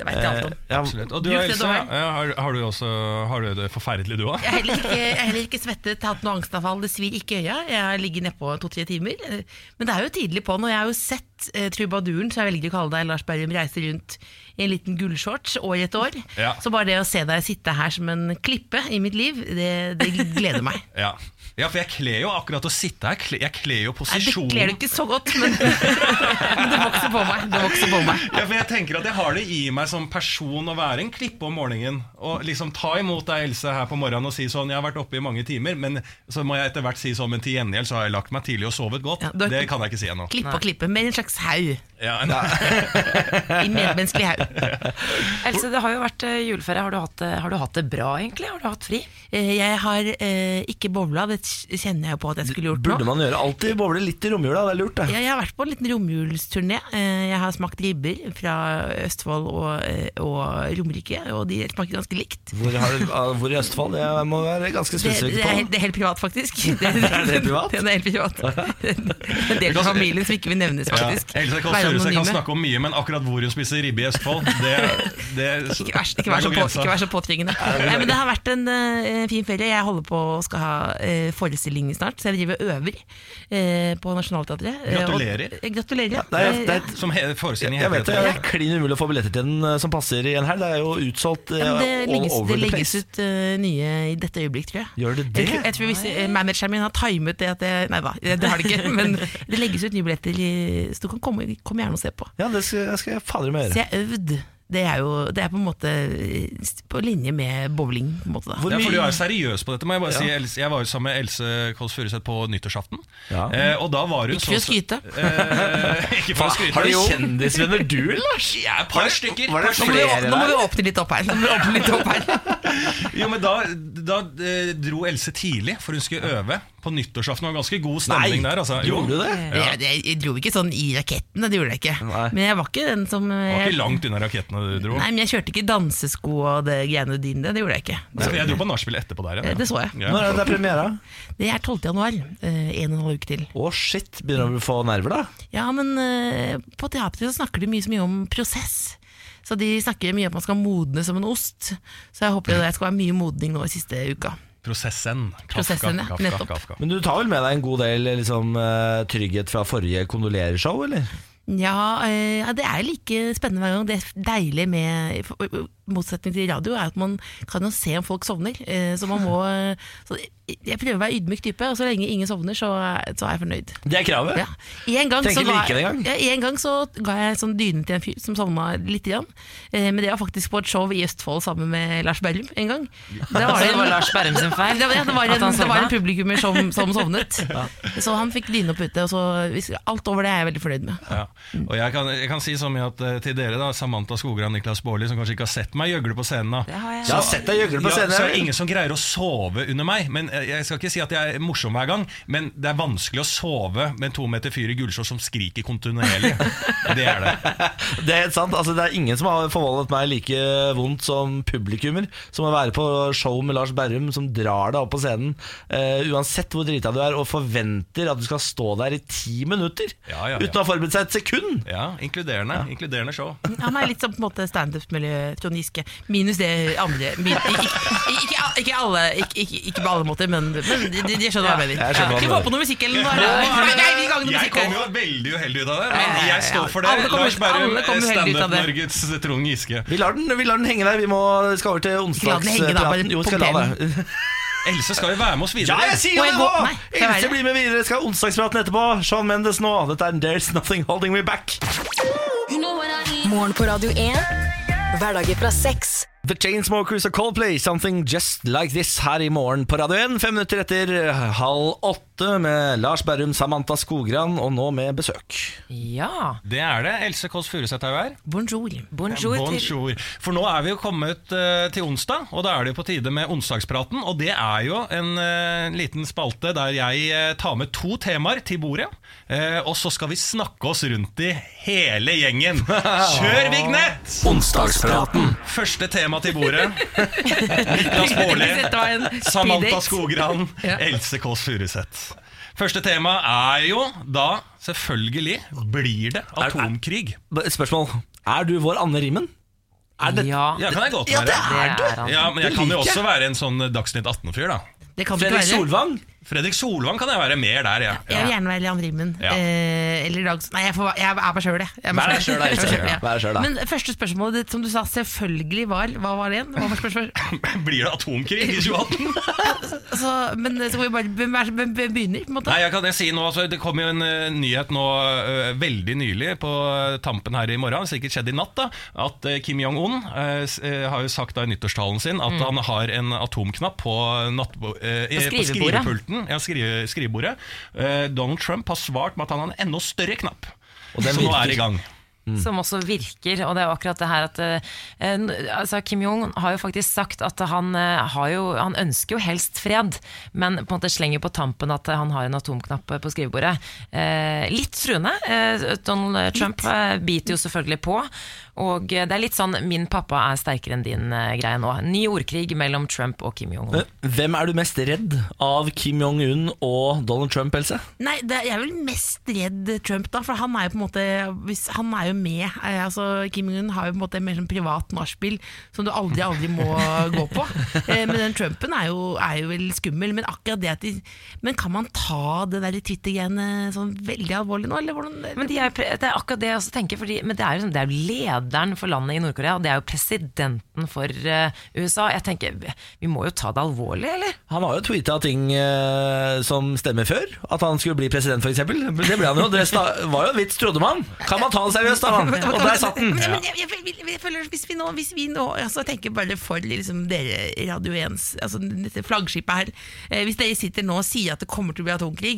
F: Det vet jeg alt om.
D: Eh, ja,
B: Absolutt. Og du,
F: Du, Fred
B: Else,
F: Aarheim.
B: ja, har, har, du også, har du det forferdelig, du òg?
F: Jeg har heller ikke, jeg har heller ikke svettet, hatt noe angstavfall, det svir ikke i øya. Jeg har ligget nedpå to-tre timer. Eh, Men det er jo tidlig på'n, og jeg har jo sett eh, trubaduren, som jeg velger å kalle deg, Lars Berrum, reise rundt i en liten gullshorts år etter år.
B: Ja.
F: Så bare det å se deg sitte her som en klippe i mitt liv, det, det gleder meg.
B: Ja. ja, for jeg kler jo akkurat å sitte her. kle- Jeg kler jo
F: Nei, Det
B: posisjonen.
F: kler du ikke så godt, men, men det vokser på meg. Det vokser på meg.
B: Ja, for jeg tenker at jeg har det i meg som person å være en klippe om morgenen. Og liksom ta imot deg, Else, her på morgenen og si sånn Jeg har vært oppe i mange timer, men så må jeg etter hvert si sånn Men til gjengjeld så har jeg lagt meg tidlig og sovet godt.
F: Ja, du har
B: det
F: ikke-
B: kan jeg ikke si ennå.
F: Klippe og klippe, mer en slags haug.
B: Ja, nei.
F: I medmenneskelig haug.
C: Else, det har jo vært eh, juleferie. Har du, hatt, det- har du hatt det bra, egentlig? Har du hatt fri?
F: Eh, Jeg har eh, ikke bowla, det kjenner jeg jo på at jeg skulle gjort nå.
D: burde man gjøre alltid bowle litt i romjula. Det er lurt, det.
F: Ja, jeg har vært på en liten romjulsturné. Eh, Jeg har smakt ribber fra Østfold og, eh, og Romerike, og de smaker ganske likt.
D: Hvor, har du, ah, hvor i Østfold? Jeg må være ganske
F: Det, det,
D: spesifikk
F: er,
D: på.
F: helt- det er helt privat, faktisk. Det,
D: Er det privat?
F: Ja, det er helt privat. En del av familien som ikke vil nevnes,
B: Ja.
F: faktisk.
B: Else Kåss
F: Være
B: Furuseth kan
F: anonyme.
B: snakke om mye, men akkurat hvor hun spiser ribbe i Østfold, det, det
F: Ikke vær, ikke, vær
B: der går
F: så på,
B: grensa.
F: ikke vær så påtrengende. Nei, men det har vært en eh, fin ferie. Jeg holder på å skal ha eh, forestilling snart, så jeg driver og øver eh, på Nationaltheatret. Eh, og-
B: Gratulerer.
F: Eh, gratulerer.
D: Ja, det er, det er
B: Som he forestilling
D: Jeg vet det,
B: heter.
D: det er klin umulig å få billetter til den eh, som passer i en helg. Det er jo utsolgt eh,
F: Ja, men det
D: all
F: legges,
D: over
F: det
D: the
F: legges
D: place.
F: ut eh, nye i dette øyeblikk, tror jeg.
D: Gjør det
F: Jeg
D: det?
F: tror, jeg tror hvis eh, Manageren min har timet det at jeg, Nei da, det har det ikke. Men det legges ut nye billetter, i- så du kan komme, kom gjerne og se på.
D: Ja, det skal, jeg skal jeg fader meg gjøre.
F: Så jeg har øvd. Det er jo det er på en måte eh, på linje med bowling. På en måte, da.
D: Hvor
B: Ja, for
D: mye-
B: du er jo seriøs på dette. Må jeg, bare si, Else- jeg var jo sammen med Else Kåss Furuseth på nyttårsaften.
D: Ja.
B: Eh, og da var hun
F: Ikke for å
B: så-
F: skryte.
B: Eh, ikke for å skryte.
D: Ah, Har du
B: Jo.
D: kjendisvenner du, Lars?
B: Jeg er et par stykker.
D: Var det
B: Par
F: Nå må, vi,
D: flere
F: nå må
D: der?
F: vi åpne litt opp her. Nå må vi åpne litt opp her.
B: Jo, men da, da eh, dro Else tidlig, for hun skulle øve på nyttårsaften. Det var ganske god stemning der. Altså. Jo.
D: Gjorde du det?
F: Jeg, jeg, jeg dro ikke sånn i raketten, det gjorde jeg ikke.
D: Nei.
F: Men jeg var ikke den som
B: Det var
F: jeg,
B: ikke langt unna rakettene du dro.
F: Nei, men jeg kjørte ikke dansesko og det greiene dine, det gjorde jeg ikke.
B: Altså, jeg dro på nachspiel etterpå der
F: Eh,
B: igjen.
F: Det så jeg.
D: Når er det det er premiere?
F: Det er 12. januar. eh, En og en halv uke til.
D: Å, shit. Begynner du å få nerver, da?
F: Ja, men eh, på teatret så snakker de mye så mye om prosess. Så de snakker mye om at man skal modne som en ost. Så jeg håper jo det skal være mye modning nå i siste uka.
B: Prosessen. Kafka,
F: Prosessen, ja.
B: Kafka,
F: Nettopp.
B: Kafka.
D: Men du tar vel med deg en god del liksom, eh, trygghet fra forrige kondolereshow, eller?
F: Ja, eh, ja, det er like spennende hver gang. Det deilige med for- i motsetning til radio er at man kan jo se om folk sovner. eh, Så man må eh, så Jeg prøver å være ydmyk type, og så lenge ingen sovner, så, er- så er jeg fornøyd.
D: Det er kravet.
F: Ja. En gang
D: Tenker
F: så ga,
D: like det en gang.
F: Ja, en gang så ga jeg sånn dyne til en fyr som sovna litt. Igjen. Eh, men det var faktisk på et show i Østfold sammen med Lars Berrum en gang. Da var
C: Så
F: det
C: det var
F: en,
C: Lars Berrum sin feil?
F: det var, ja, det var
C: at han
F: en, det var en
C: sovna?
F: publikummer som, som sovnet. Så han fikk dyne og pute, og så hvis- alt over det er jeg veldig fornøyd med.
B: Ja. Og jeg kan, jeg kan si så mye at eh, til dere, da Samantha Skogran Niklas Baarli, som kanskje ikke har sett meg gjøgle på scenen. da
C: Det har jeg.
D: Jeg har sett deg gjøgle
B: Ja,
D: på
B: så er det
D: scenen.
B: ingen som greier å sove under meg. Men eh, Jeg skal ikke si at jeg er morsom hver gang, men det er vanskelig å sove med en to meter fyr i gullshorts som skriker kontinuerlig. Det er det.
D: Det er helt sant. Altså, det er ingen som har forvoldet meg like vondt som publikummer. Som å være på show med Lars Berrum, som drar deg opp på scenen eh, uansett hvor drita du er, og forventer at du skal stå der i ti minutter
B: Ja, ja, ja.
D: uten å ha forberedt seg et sekund.
B: Ja, Inkluderende, inkluderende show.
F: Han er litt som på en måte standup-miljø Trond Giske, minus det andre. Min, ikke, ikke, ikke, ikke alle, ikke, ikke, ikke på alle måter, men, men de, de, de skjønner hva jeg mener.
D: jeg skjønner hva du
F: Skal vi få på noe musikk, eller noe? Nei, nei, vi kan ikke noe
B: Jeg
F: musikk
B: kom
F: her.
B: jo veldig uheldig ut av det,
F: Ja, ja,
B: men
F: ja,
B: jeg står for det.
F: alle kommer-
B: Lars Berrum,
F: alle kommer uheldig ut av det.
B: Standup-Norges Trond Giske.
D: Vi lar den, vi lar den henge der. Vi må, skal over til
F: la den henge da,
D: onsdagspraten.
F: bare
D: Jo, vi skal
F: på
D: la det.
B: Else skal jo være med oss
D: Ja,
B: videre.
D: jeg sier
F: Må
D: det
F: jeg
D: nå!
F: gå? Nei, skal jeg være
D: Else
F: det?
D: blir med videre. Skal ha onsdagspraten etterpå. Sean Mendes nå. Dette er There's Nothing Holding Me Back.
A: Morgen på Radio 1. Hverdager fra seks.
D: The Chainsmokers og Coldplay, Something Just Like This her i morgen på Radio 1. Fem minutter etter halv åtte. 8 med Lars Berrum, Samantha Skogran, og nå med besøk.
C: Ja.
B: Det er det. Else Kåss Furuseth er jo her.
F: Bonjour.
C: Bonjour, til
B: Bonjour. For nå er vi jo kommet eh, til onsdag, og da er det jo på tide med onsdagspraten. Og det er jo en eh, liten spalte der jeg eh, tar med to temaer til bordet. eh, og så skal vi snakke oss rundt i hele gjengen. Kjør vignett!
E: Onsdagspraten.
B: Første tema til bordet. Niklas Baarli,
F: Dette var en
B: Samantha
F: speeddate.
B: Skogran,
F: Ja.
B: Else Kåss Furuseth. Første tema er jo da selvfølgelig blir det atomkrig.
D: B- Spørsmål. Er du vår Anne Rimmen? Er det
C: Ja,
B: Ja, kan jeg godt
D: Ja, det
B: være.
C: det er han.
B: Ja, men jeg kan jo også være en sånn Dagsnytt 18-fyr, da.
F: Det kan du ikke
D: Fredrik
F: være.
D: Solvang?
B: Fredrik Solvang kan jeg være mer der, jeg.
F: Jeg vil gjerne være Leon Rimmen.
B: Ja.
F: Eh, eller Dag Nei, jeg, får, jeg er meg sjøl, jeg. jeg. er meg
D: Vær deg
F: selv.
D: selv, da, Else.
F: Jeg er meg selv, ja.
D: Vær deg selv, da.
F: Men første spørsmålet ditt, som du sa, selvfølgelig var Hva var det igjen? Hva var spørsmålet?
B: Blir det atomkrig i 2018?
F: Så, Altså, men eh, så må vi bare hvem er det som begynner, på en måte.
B: Nei, jeg kan jeg si nå, altså, Det kom jo en eh, nyhet nå eh, veldig nylig, på eh, tampen her i morgen, sikkert skjedd i natt, da, at eh, Kim Jong-un eh, s- eh, har jo sagt da i nyttårstalen sin
F: Mm.
B: at han har en atomknapp på, nattbo, eh, eh, på
C: skrivebordet.
B: skrivepulten. Ja, skrive, skrivebordet. Eh, Donald Trump har svart med at han har en enda større knapp.
D: Og den
B: Så nå
D: virker.
B: er det i gang.
C: som også virker. Og det er jo akkurat det her at eh, en- altså Kim Jong har jo faktisk sagt at han, eh, har jo, han ønsker jo helst fred, men på en måte slenger på tampen at eh, han har en atomknapp på skrivebordet. Eh, litt truende. Eh, Donald Trump eh, biter jo selvfølgelig på. Og eh, det er litt sånn 'min pappa er sterkere enn din'-greie nå. Ny ordkrig mellom Trump og Kim Jong-un.
D: Eh, Hvem er du mest redd av Kim Jong-un og Donald Trump, Else?
F: Nei, det, jeg er vel mest redd Trump, da. For han er jo på en måte hvis, Han er jo med. Eh, altså, Kim Jong-un har jo på en måte mer sånn privat nachspiel som du aldri, aldri må gå på. Eh, men den Trumpen er jo, er jo vel skummel. Men akkurat det at de Men kan man ta det der Twitter-genet sånn veldig alvorlig nå, eller hvordan
C: Men de er, pre- det er akkurat det jeg også tenker. Fordi, men det er, jo sånn- det er jo lederen for landet i Nord-Korea, og det er jo presidenten for eh, USA. Jeg tenker, vi- Vi må jo ta det alvorlig, eller?
D: Han har jo tweeta ting eh, som stemmer før. At han skulle bli president, f.eks. Det ble han jo. Det sta var jo en vits, trodde man. Kan man ta han seriøst, da, mann? Og der satt den.
F: Men, men jeg, jeg, jeg, jeg føler at hvis vi nå, hvis vi nå altså, jeg tenker bare for liksom, dere i Radio 1s, altså, dette flaggskipet her eh, Hvis dere sitter nå og sier at det kommer til å bli atomkrig,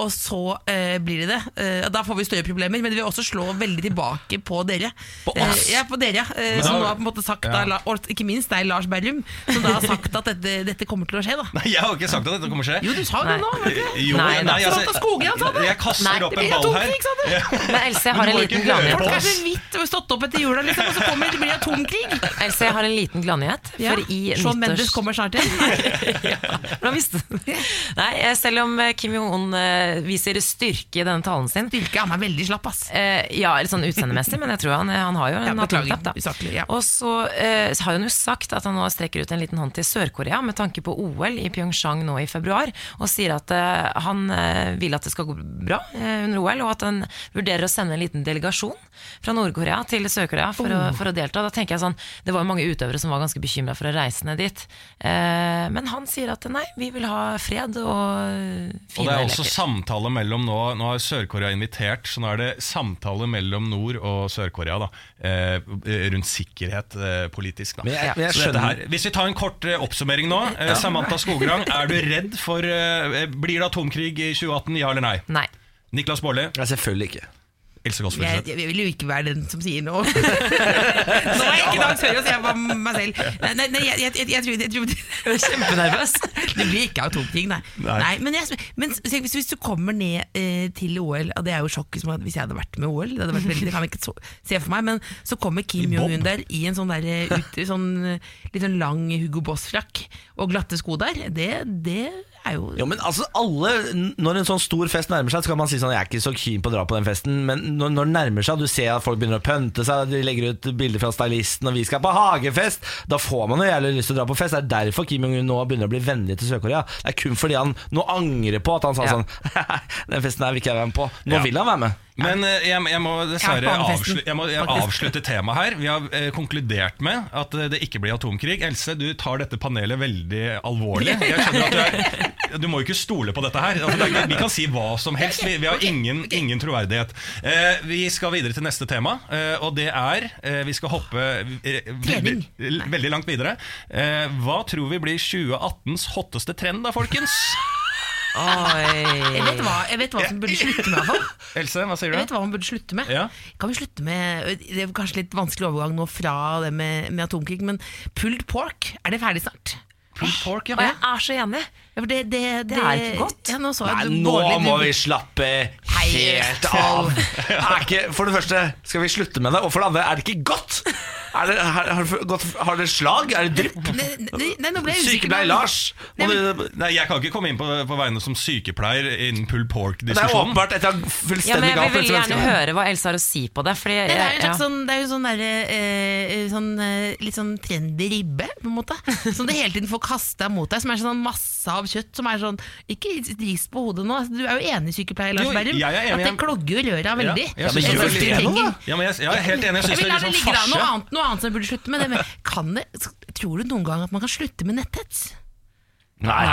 F: og så eh, blir det det, eh, da får vi større problemer. Men det vil også slå veldig tilbake på dere.
D: På oss?
F: Eh, ja, på dere, ja. Eh,
B: Men
F: som
B: da-
F: nå har på en måte sagt,
B: Ja.
F: da, La- og ikke minst deg, Lars Berrum, som da har sagt at dette, dette kommer til å skje. da
B: Nei, jeg har jo ikke sagt at dette kommer til å skje.
F: Jo, du sa jo
C: Nei.
F: det nå! var det ikke?
B: Jo, altså,
C: Nei, da.
F: Samantha Skogran sa det.
B: Jeg
C: Nei,
B: kaster opp
F: Det
B: en
F: blir
B: ball
F: atomkrig,
B: her.
F: sa du!
C: Men Else, jeg
B: Men
C: har
B: du
C: en
B: må
C: liten
B: ikke høre
C: gladnyhet.
B: på
F: Folk er
B: oss.
F: så vidt stått opp etter jula, liksom, og så kommer det til å bli atomkrig!
C: Else, jeg har en liten gladnyhet.
F: Ja.
C: For i
F: Shawn Mendes
C: nyttårs-
F: kommer snart igjen.
C: Hvordan visste du det? Nei, eh, selv om eh, Kim Jong-un eh, viser styrke i denne talen sin,
F: Styrke han er veldig slapp, ass.
C: Eh, ja, litt sånn utseendemessig, men jeg tror han, han har jo en
F: Ja, beklager.
C: atomknapp, da.
F: Usaklig, ja.
C: Og så eh, så har hun jo sagt at han nå strekker ut en liten hånd til Sør-Korea med tanke på OL i Pyeongchang nå i februar, og sier at eh, han eh, vil at det skal gå bra eh, under OL, og at han vurderer å sende en liten delegasjon fra Nord-Korea til Sør-Korea for, å- for å delta. Da tenker jeg sånn, det var jo mange utøvere som var ganske bekymra for å reise ned dit, eh, men han sier at nei, vi vil ha fred og
B: Og
C: fine
B: det er også
C: leker.
B: samtale mellom nå Nå har Sør-Korea invitert, så nå er det samtale mellom Nord- og Sør-Korea da, eh, rundt sikkerhet eh, politisk. Da.
D: Men jeg, men jeg
B: Så dette
D: skjønner
B: her, hvis vi tar en kort eh, oppsummering nå. Eh, Samantha Skograng, er du redd for eh, Blir det atomkrig i 2018, ja eller nei?
C: Nei.
B: Niklas Baarli,
D: Nei, selvfølgelig ikke.
B: Else Kåss
F: Jeg,
B: Furuseth.
F: jeg vil jo ikke være den som sier noe. Nå er jeg ikke Dag Sørås, jeg var meg selv. Nei, nei, nei jeg, jeg, jeg, jeg, tror- jeg tror Kjempenervøs. Det blir ikke atomkrig, nei. nei. men jeg, men s- hvis, hvis du kommer ned eh, til OL, og det er jo sjokk som at hvis jeg hadde vært med i OL, det, hadde vært veldig, det kan jeg ikke så, se for meg, men så kommer Kim Jong-un der i en sånn, der, eh, ut, sånn eh, litt sånn lang Hugo Boss-frakk og glatte sko der. Det, det er jo
D: Jo, men altså alle, n- Når en sånn stor fest nærmer seg, så kan man si sånn Jeg er ikke så keen på å dra på den festen, men når, når den nærmer seg, du ser at folk begynner å pønte seg, de legger ut bilder fra stylisten, og vi skal på hagefest, da får man jo jævlig lyst til å dra på fest. Det er derfor Kim Jong-un nå begynner å bli vennlig til Sør-Korea. Det er kun fordi han nå angrer på at han sa
C: Ja.
D: sånn Den festen her vil ikke jeg være med på. Nå
B: Ja.
D: vil han være med.
B: Men eh, jeg, jeg må dessverre
F: Ja, barnefesten,
B: avslutte, jeg må, jeg
F: faktisk.
B: avslutte temaet her. Vi har eh, konkludert med at eh, det ikke blir atomkrig. Else, du tar dette panelet veldig alvorlig. Jeg skjønner at Du, er, du må jo ikke stole på dette her. Altså, det er ikke- vi kan si hva som helst. Vi, vi har ingen, ingen troverdighet. Eh, vi skal videre til neste tema, eh, og det er eh, Vi skal hoppe eh, veldig,
F: Trening.
B: veldig langt videre. Eh, hva tror vi blir 2018s hotteste trend da, folkens?
F: Jeg
C: Oi.
F: vet hva, jeg vet hva som burde slutte med, i hvert fall.
B: Else, hva sier
F: Jeg
B: du?
F: vet hva man burde slutte med.
B: Ja.
F: Kan vi slutte med Det er kanskje litt vanskelig overgang nå fra det med, med atomkrig, men pulled pork, er det ferdig snart?
B: Pulled pork, ja.
C: Og jeg er så enig.
F: Ja, for det,
C: Det er ikke godt.
F: Ja, nå så jeg
D: Nei,
F: at du-
D: nå
F: Bårdli, du-
D: må vi slappe helt av! Er ikke, for det første, skal vi slutte med det? Og for det andre, er det ikke godt? Er det, har, har, det gått- har det slag? Er det drypp?
F: Nei, nei, nei, nå ble jeg usikker.
D: Sykepleier Lars? Må du,
B: Nei, Jeg kan ikke komme inn på, på vegne som sykepleier innen pull
D: det er
B: pork-diskusjonen.
D: åpenbart et
C: Ja, men
D: fullstendig
C: jeg vil
D: galt
C: veldig gjerne
D: menneske.
C: høre hva Else har å si på det. Fordi,
F: Nei, det er jo en
C: ja.
F: slags sånn, det er jo sånn derre eh, sånn, eh, litt sånn trendy ribbe, på en måte. Som du hele tiden får kasta mot deg. Som er sånn masse av kjøtt. Som er sånn Ikke rist på hodet nå. altså, Du er jo enig, sykepleier Lars
B: Jo, jeg
F: Berrum.
B: er enig,
F: At det
B: jeg-
F: klogger jo røra veldig.
B: Ja,
F: Det er
B: men gjør
F: sånn
B: det
F: du
D: nå,
F: trenger.
D: da.
B: Ja, men jeg, jeg er helt enig. Jeg
F: Jeg
B: syns det
F: vil la
B: er
F: det
B: litt
F: ligge
B: sånn
F: da, noe
B: farse.
F: annet, noe annet som jeg burde slutte med. Det, men kan det, tror du noen gang at man kan slutte med netthets?
D: Nei,
C: Nei,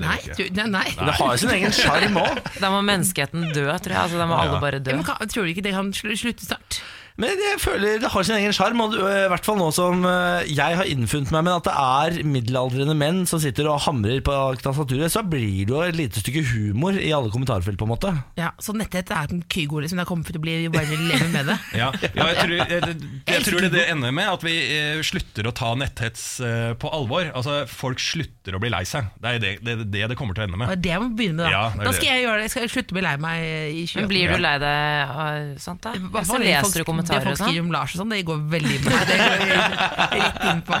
B: det vil
F: Nei.
B: jeg
F: Tror,
B: ikke.
F: nei, nei.
D: det har jo sin egen sjarm òg.
C: da må menneskeheten dø, tror jeg. Altså, da må alle bare
F: Ja,
C: dø.
F: men, kan, tror du ikke det kan slu- slutte snart?
D: Men jeg føler det har sin egen sjarm, og du- øh, i hvert fall nå som øh, jeg har innfunnet meg med at det er middelaldrende menn som sitter og hamrer på tastaturet, så blir det jo et lite stykke humor i alle kommentarfelt, på en måte.
F: Ja, så netthets er en kygo, liksom. Det kommer for å bli vi bare leve med det.
B: Ja, ja, jeg, tror, jeg, jeg, jeg tror det, det ender med at vi eh, slutter å ta netthets eh, på alvor. Altså, Folk slutter å bli lei seg. Det er det det, er det, det kommer til å ende
F: Og
B: med.
F: det jeg må begynne med, da.
B: Ja, det er
F: da
B: det.
F: skal jeg gjøre det. Jeg skal slutte å bli lei meg i 20
C: Men blir du lei deg av sånt, da?
F: Hva-
C: Så
F: hva det folk-
C: leser du kommentarer
F: Det
C: og
F: folk skriver
C: sånn.
F: om Lars og sånn, det går veldig bra. Det går jeg rett inn på.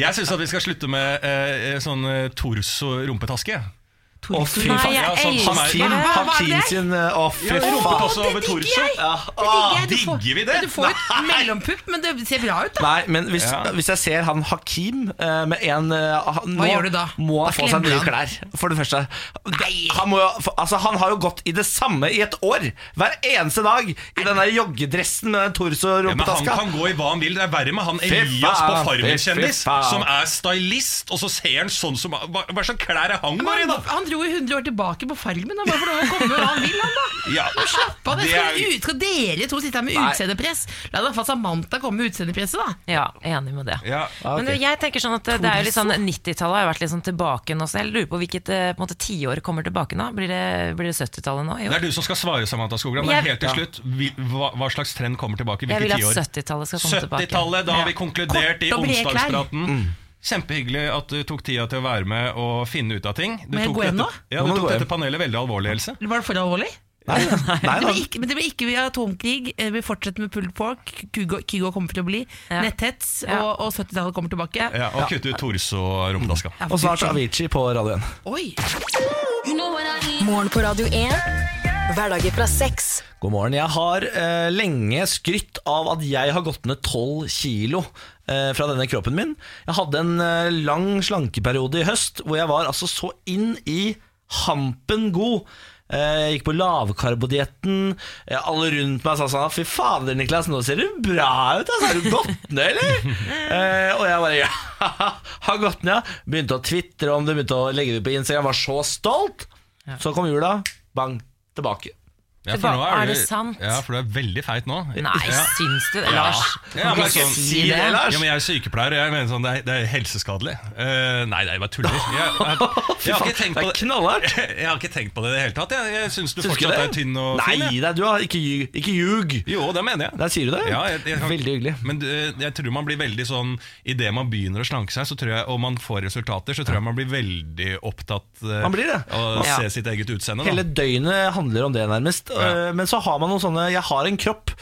B: Jeg syns vi skal slutte med eh, sånn eh, torso-rumpetaske.
D: Å, fy
C: Nei,
D: faen.
B: Ja,
C: jeg
B: sånn som er-
C: elsker
D: Kim
C: det!
F: hva var
D: Hakim
F: det?
D: sin øh, Å, fy faen.
B: Rumpetasse over torso.
F: jeg!
D: Ja,
F: Det digger jeg. Du får-
B: Digger vi det?
F: Du får jo et mellompupp, men det ser bra ut, da.
D: Nei, men hvis,
B: Ja.
D: hvis jeg ser han Hakim eh, med en eh, han- Nå
F: gjør du da?
D: må
F: Da
D: han få seg
F: klemmer
D: nye
F: du
D: klær, for det første. Han, må jo, for, altså, han har jo gått i det samme i et år. Hver eneste dag i den der joggedressen
B: Ja, men han
D: med den torso-rumpetaska.
B: kan gå i hva han vil. Det er verre med han
D: faen,
B: Elias på
D: fy, fy
B: Farmen-kjendis,
D: faen.
B: som er stylist, og så ser han sånn som Hva hva slags klær er han bare i,
F: Men
B: da?
F: Han, han dro jo 100 år tilbake på Farmen. Han bare får lov å komme når han vil, han da.
B: Ja,
F: Slapp av,
B: det
F: det
B: er-
F: skal, ut, skal dere to sitte her med
D: Nei.
F: utseendepress? La i hvert fall Samantha komme med utseendepresset, da.
C: Ja, enig med det.
B: Ja.
C: Men du, jeg tenker sånn at det er jo litt sånn 90-tallet har jo vært litt sånn tilbake nå, så jeg lurer på hvilket eh, på en måte, tiår kommer tilbake nå? Blir det, blir det 70-tallet nå?
B: Det
C: Jo.
B: er du som skal svare, Samantha Skogran. Men
C: Jeg-
B: helt til slutt, vi- hva, hva slags trend kommer tilbake?
C: Jeg vil
B: Hvilke
C: at
B: tiår?
C: 70-tallet skal komme tilbake.
B: 70-tallet, da har vi konkludert i
F: Kort og brede klær.
B: onsdagspraten.
D: Mm.
B: Kjempehyggelig at du tok tida til å være med og finne ut av ting. Du
F: Må jeg
B: tok
F: gå hjem
B: dette,
F: nå?
B: ja,
D: Nå må
B: du
D: du
B: tok
D: gå
B: dette panelet veldig alvorlig, Else.
F: Var det for alvorlig?
D: Nei, nei,
F: Det
D: nei.
F: blir ikke, men det blir ikke via atomkrig. eh, Vi fortsetter med pulled pork. Kygo, Kygo kommer til å bli.
C: Ja.
F: Netthets.
C: Ja.
F: Og, og 70-tallet kommer tilbake.
B: Ja, og kutte ut torso-rumpetaska.
F: Ja,
D: Og snart
F: fy faen.
D: Avicii på radioen.
F: Oi!
A: Morgen på Radio 1. Hverdager fra seks.
D: God morgen. Jeg har eh, lenge skrytt av at jeg har gått ned 12 kilo eh, fra denne kroppen min. Jeg hadde en eh, lang slankeperiode i høst hvor jeg var altså så inn i hampen god. Eh, Jeg gikk på lavkarbodietten. Eh, Alle rundt meg sa sånn Fy fader, Niklas, nå ser du bra ut. Altså. Har du gått ned, eller? eh, og jeg bare Ja, har gått ned. ja." Begynte å tvitre om det, begynte å legge det på Instagram. Var så stolt. Så kom jula. Bang. Tilbake.
B: Ja, for nå
C: Er
B: du-
C: det sant?
B: Ja, for du er veldig feit nå.
C: Nei,
B: ja.
C: syns du det, Lars?
B: Ja, men sånn-
D: Si det, Lars.
B: Ja, men jeg er sykepleier, og jeg mener sånn, det er, det er helseskadelig. Eh, nei, det er bare tuller. Jeg, jeg, jeg,
D: Fy
B: har
D: faen,
B: ikke tenkt
D: det
B: på
D: er
B: det.
D: knallhardt.
B: Jeg har ikke tenkt på det i det hele tatt. Jeg, jeg syns du
D: Syns du ikke
B: fortsatt
D: det?
B: er tynn og
D: Nei,
B: fin. jeg.
D: det er du da. Ikke ljug. Ikke ljug.
B: Jo, det mener jeg.
D: Der sier du det.
B: Ja, jeg- jeg kan-
D: Veldig hyggelig.
B: Men eh, jeg tror man blir veldig sånn Idet man begynner å slanke seg, så tror jeg, og man får resultater, så tror jeg man blir veldig opptatt eh,
D: Man blir det.
B: av å
C: Ja.
B: se sitt eget utseende. Da.
D: Hele døgnet handler om det, nærmest.
B: Ja.
D: Eh, Men så har man noen sånne Jeg har en kropp.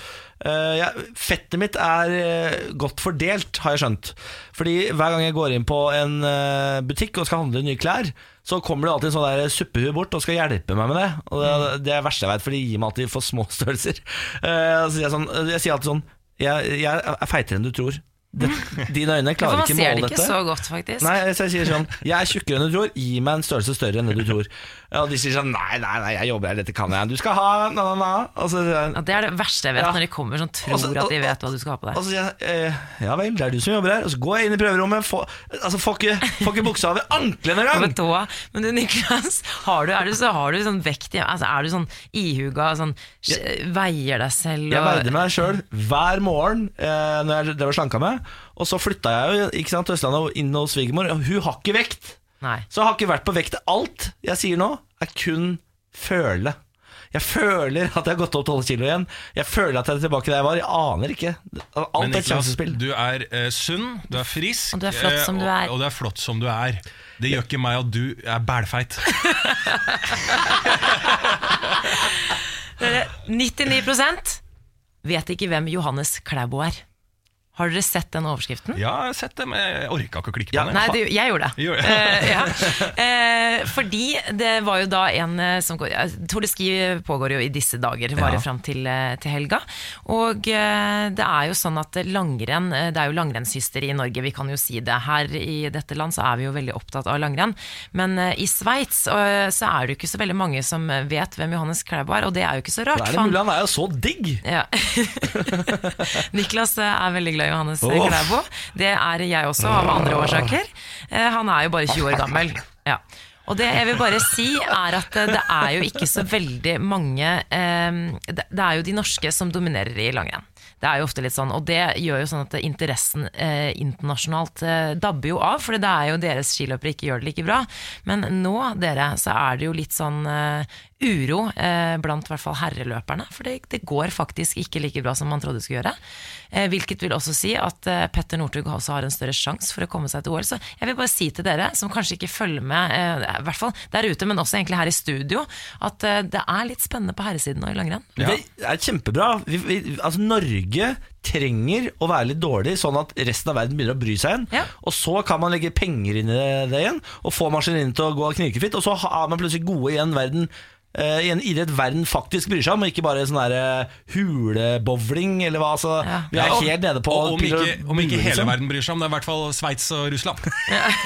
D: Eh, jeg, fettet mitt er eh, godt fordelt, har jeg skjønt. Fordi hver gang jeg går inn på en eh, butikk og skal handle nye klær, så kommer det alltid en sånn der suppehue bort og skal hjelpe meg med det. Og det,
C: Mm.
D: det er det verste jeg vet, for de gir meg alltid for små størrelser. Eh, så sier jeg, sånn, jeg sier alltid sånn Jeg, jeg er feitere enn du tror. Det, dine øyne
C: For man
D: klarer ikke
C: ser
D: måle
C: det
D: dette.
C: ikke så godt, faktisk.
D: Nei, så jeg sier sånn Jeg er tjukkere enn du tror, gi meg en størrelse større enn det du tror. Og de sier sånn Nei, nei, nei, jeg jobber her, dette kan jeg. Du skal ha na, na, na. Og så sier jeg,
C: Ja, det er det verste jeg vet,
D: Ja.
C: når de kommer sånn tror
D: Og så-
C: at de vet hva du skal ha på
D: og
C: deg.
D: så sier jeg eh, Ja vel, det er du som jobber her. Og så går jeg inn i prøverommet, får, altså, får, ikke, får ikke buksa over anklene
C: Og
D: engang.
C: med tåa. Men du, Niklas, har du, er du, så har du sånn vekt i- altså, Er du sånn ihuga, sånn sj- veier deg selv
D: Jeg
C: og
D: veide meg sjøl hver morgen eh, når jeg drev og slanka meg. Og så flytta jeg jo ikke sant, til Østlandet og inn hos svigermor, og hun har ikke vekt.
C: Nei.
D: Så jeg har ikke vært på vekt. Alt jeg sier nå, er kun føle. Jeg føler at jeg har gått opp 12 kilo igjen. Jeg føler at jeg er tilbake der jeg var. Jeg aner ikke.
B: Men
D: Alt er et
B: Niklas,
D: sjansespill.
B: du er eh, sunn, du er frisk,
C: Og du er flott
B: eh,
C: som du
B: og-
C: er.
B: Og du er flott som du er. Det gjør ikke meg at du er bælfeit.
C: 99 vet ikke hvem Johannes Klæbo er. Har dere sett den overskriften?
B: Ja, jeg har sett det, men jeg orka ikke å klikke
D: Ja,
B: på det.
C: Nei, det, jeg gjorde det.
B: Gjorde det?
C: Eh, ja. Eh, fordi det var jo da en eh, som går ja, Tour de Ski pågår jo i disse dager, varer
D: Ja.
C: fram til, eh, til helga. Og eh, det er jo sånn at langrenn eh, Det er jo langrennshysteri i Norge, vi kan jo si det. Her i dette land så er vi jo veldig opptatt av langrenn. Men eh, i Sveits eh, så er det jo ikke så veldig mange som vet hvem Johannes Klæbo er, og det er jo ikke så
D: Det
C: rart. for
D: er det
C: han-
D: mulig han er jo så digg.
C: ja. Niklas eh, er veldig glad i Johannes eh,
D: Uff.
C: Klæbo. Det er jeg også, av andre årsaker. Eh, Han er jo bare 20 år gammel. Ja. Og det jeg vil bare si er at eh, det er jo ikke så veldig mange eh, Det det er jo de norske som dominerer i langrenn. Det er jo ofte litt sånn, og det gjør jo sånn at interessen eh, internasjonalt eh, dabber jo av, for det er jo deres skiløpere ikke gjør det like bra. Men nå, dere, så er det jo litt sånn eh, uro eh, blant i hvert fall herreløperne, for det, det går faktisk ikke like bra som man trodde det skulle gjøre. Eh, hvilket vil også si at eh, Petter Northug også har en større sjanse for å komme seg til OL. Så jeg vil bare si til dere, som kanskje ikke følger med, eh, i hvert fall der ute, men også egentlig her i studio, at eh, det er litt spennende på herresiden nå i langrenn.
D: Det er kjempebra. Vi, vi, altså Norge trenger å være litt dårlig, sånn at resten av verden begynner å bry seg igjen.
C: Ja.
D: Og så kan man legge penger inn i det, det igjen, og få maskineriene til å gå knirkefritt. Og så har man plutselig gode igjen verden. eh, I en idrett verden faktisk bryr seg om, og ikke bare sånn der eh, hulebowling eller hva. Altså,
C: Ja.
D: Vi er
B: Ja, og-
D: helt nede på
B: og, om,
D: pil og
B: ikke, om
D: bue,
B: ikke hele
D: liksom.
B: verden bryr seg om det, er i hvert fall Sveits og Russland.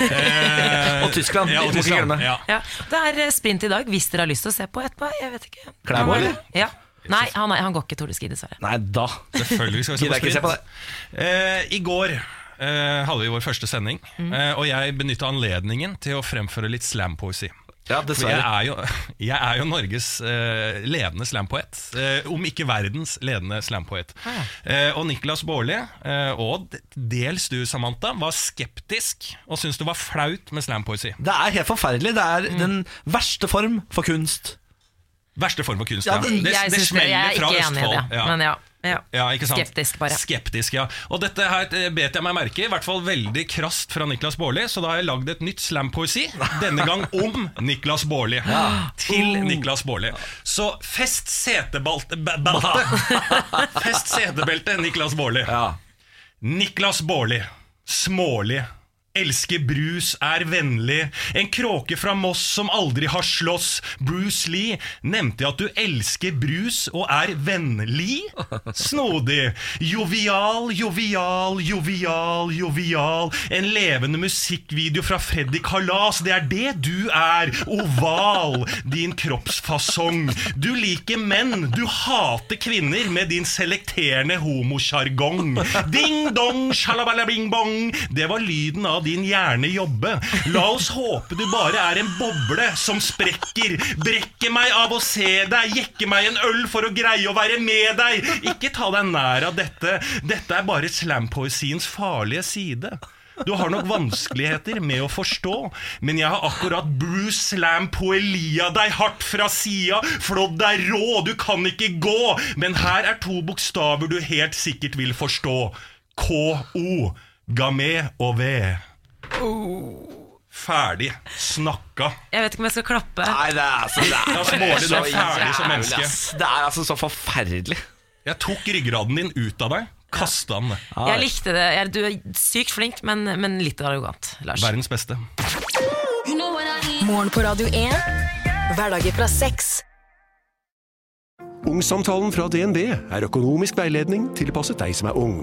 B: Eh,
D: Og Tyskland,
B: Ja,
D: vi må
B: og
D: ikke
B: Tyskland.
D: glemme.
B: Ja.
C: Ja, det er eh, sprint i dag, hvis dere har lyst til å se på etterpå. Jeg vet ikke.
D: Klæbo, eller?
C: Ja. Nei, han, er, han går ikke Tour de Ski, dessverre.
D: Nei, da.
B: Selvfølgelig skal vi se
D: Gidder
B: på
D: jeg ikke
B: sprint.
D: se på det.
B: Eh, I går eh, hadde vi vår første sending,
D: Mm.
B: eh, og jeg benytta anledningen til å fremføre litt slampoesi.
D: Ja,
B: For jeg
D: dessverre.
B: er jo, jeg er jo Norges eh, ledende slampoet, eh, om ikke verdens ledende slampoet.
C: Ah,
B: Eh, og Niklas Baarli, eh, og d- dels du, Samantha, var skeptisk og syntes det var flaut med slampoesi.
D: Det er helt forferdelig. Det
B: Mm.
D: er den verste form for kunst.
B: Verste form for kunst.
D: Ja,
B: Ja,
D: det-
B: det, det,
C: jeg, synes
B: smeller
C: jeg er
B: fra
C: ikke enig i
B: Østfold.
C: det, men ja. ja.
B: Ja, ikke sant?
C: Skeptisk, bare.
B: Skeptisk, ja. Og dette her eh, bet jeg meg merke i, i hvert fall veldig krast fra Niklas Baarli, så da har jeg lagd et nytt slampoesi, denne gang om Niklas Baarli. Til
C: Oh.
B: Niklas Baarli. Så fest setebalte ba- balte. Fest setebeltet, Niklas Baarli. Niklas Baarli. Smålig. Elsker brus, er vennlig. En kråke fra Moss som aldri har slåss. Bruce Lee. Nevnte jeg at du elsker brus og er vennlig? Snodig. Jovial, jovial, jovial, jovial. En levende musikkvideo fra Freddy Kalas. Det er det du er. Oval. Din kroppsfasong. Du liker menn. Du hater kvinner med din selekterende homosjargong. Ding dong, shalabala bing bong. Det var lyden av din hjerne jobbe. La oss håpe du bare er en boble som sprekker. Brekker meg av å se deg, jekke meg en øl for å greie å være med deg. Ikke ta deg nær av dette. Dette er bare slampoesiens farlige side. Du har nok vanskeligheter med å forstå, men jeg har akkurat Bruce Slam poelia deg hardt fra sida. Flådd deg rå, du kan ikke gå, men her er to bokstaver du helt sikkert vil forstå. KO. Gamé og V. Ferdig. Snakka.
C: Jeg vet ikke om jeg skal klappe.
D: Nei, det er altså Det
B: Ja, så Bård, du er ferdig som menneske.
D: ass. Det er altså så forferdelig.
B: Jeg tok ryggraden din ut av deg. Kasta den.
C: Jeg likte det. Jeg, du er sykt flink, men, men litt arrogant, Lars.
B: Verdens beste.
A: You know what I need. Morgen på Radio 1. Hverdager fra seks.
G: Ungsamtalen fra DNB er økonomisk veiledning tilpasset deg som er ung.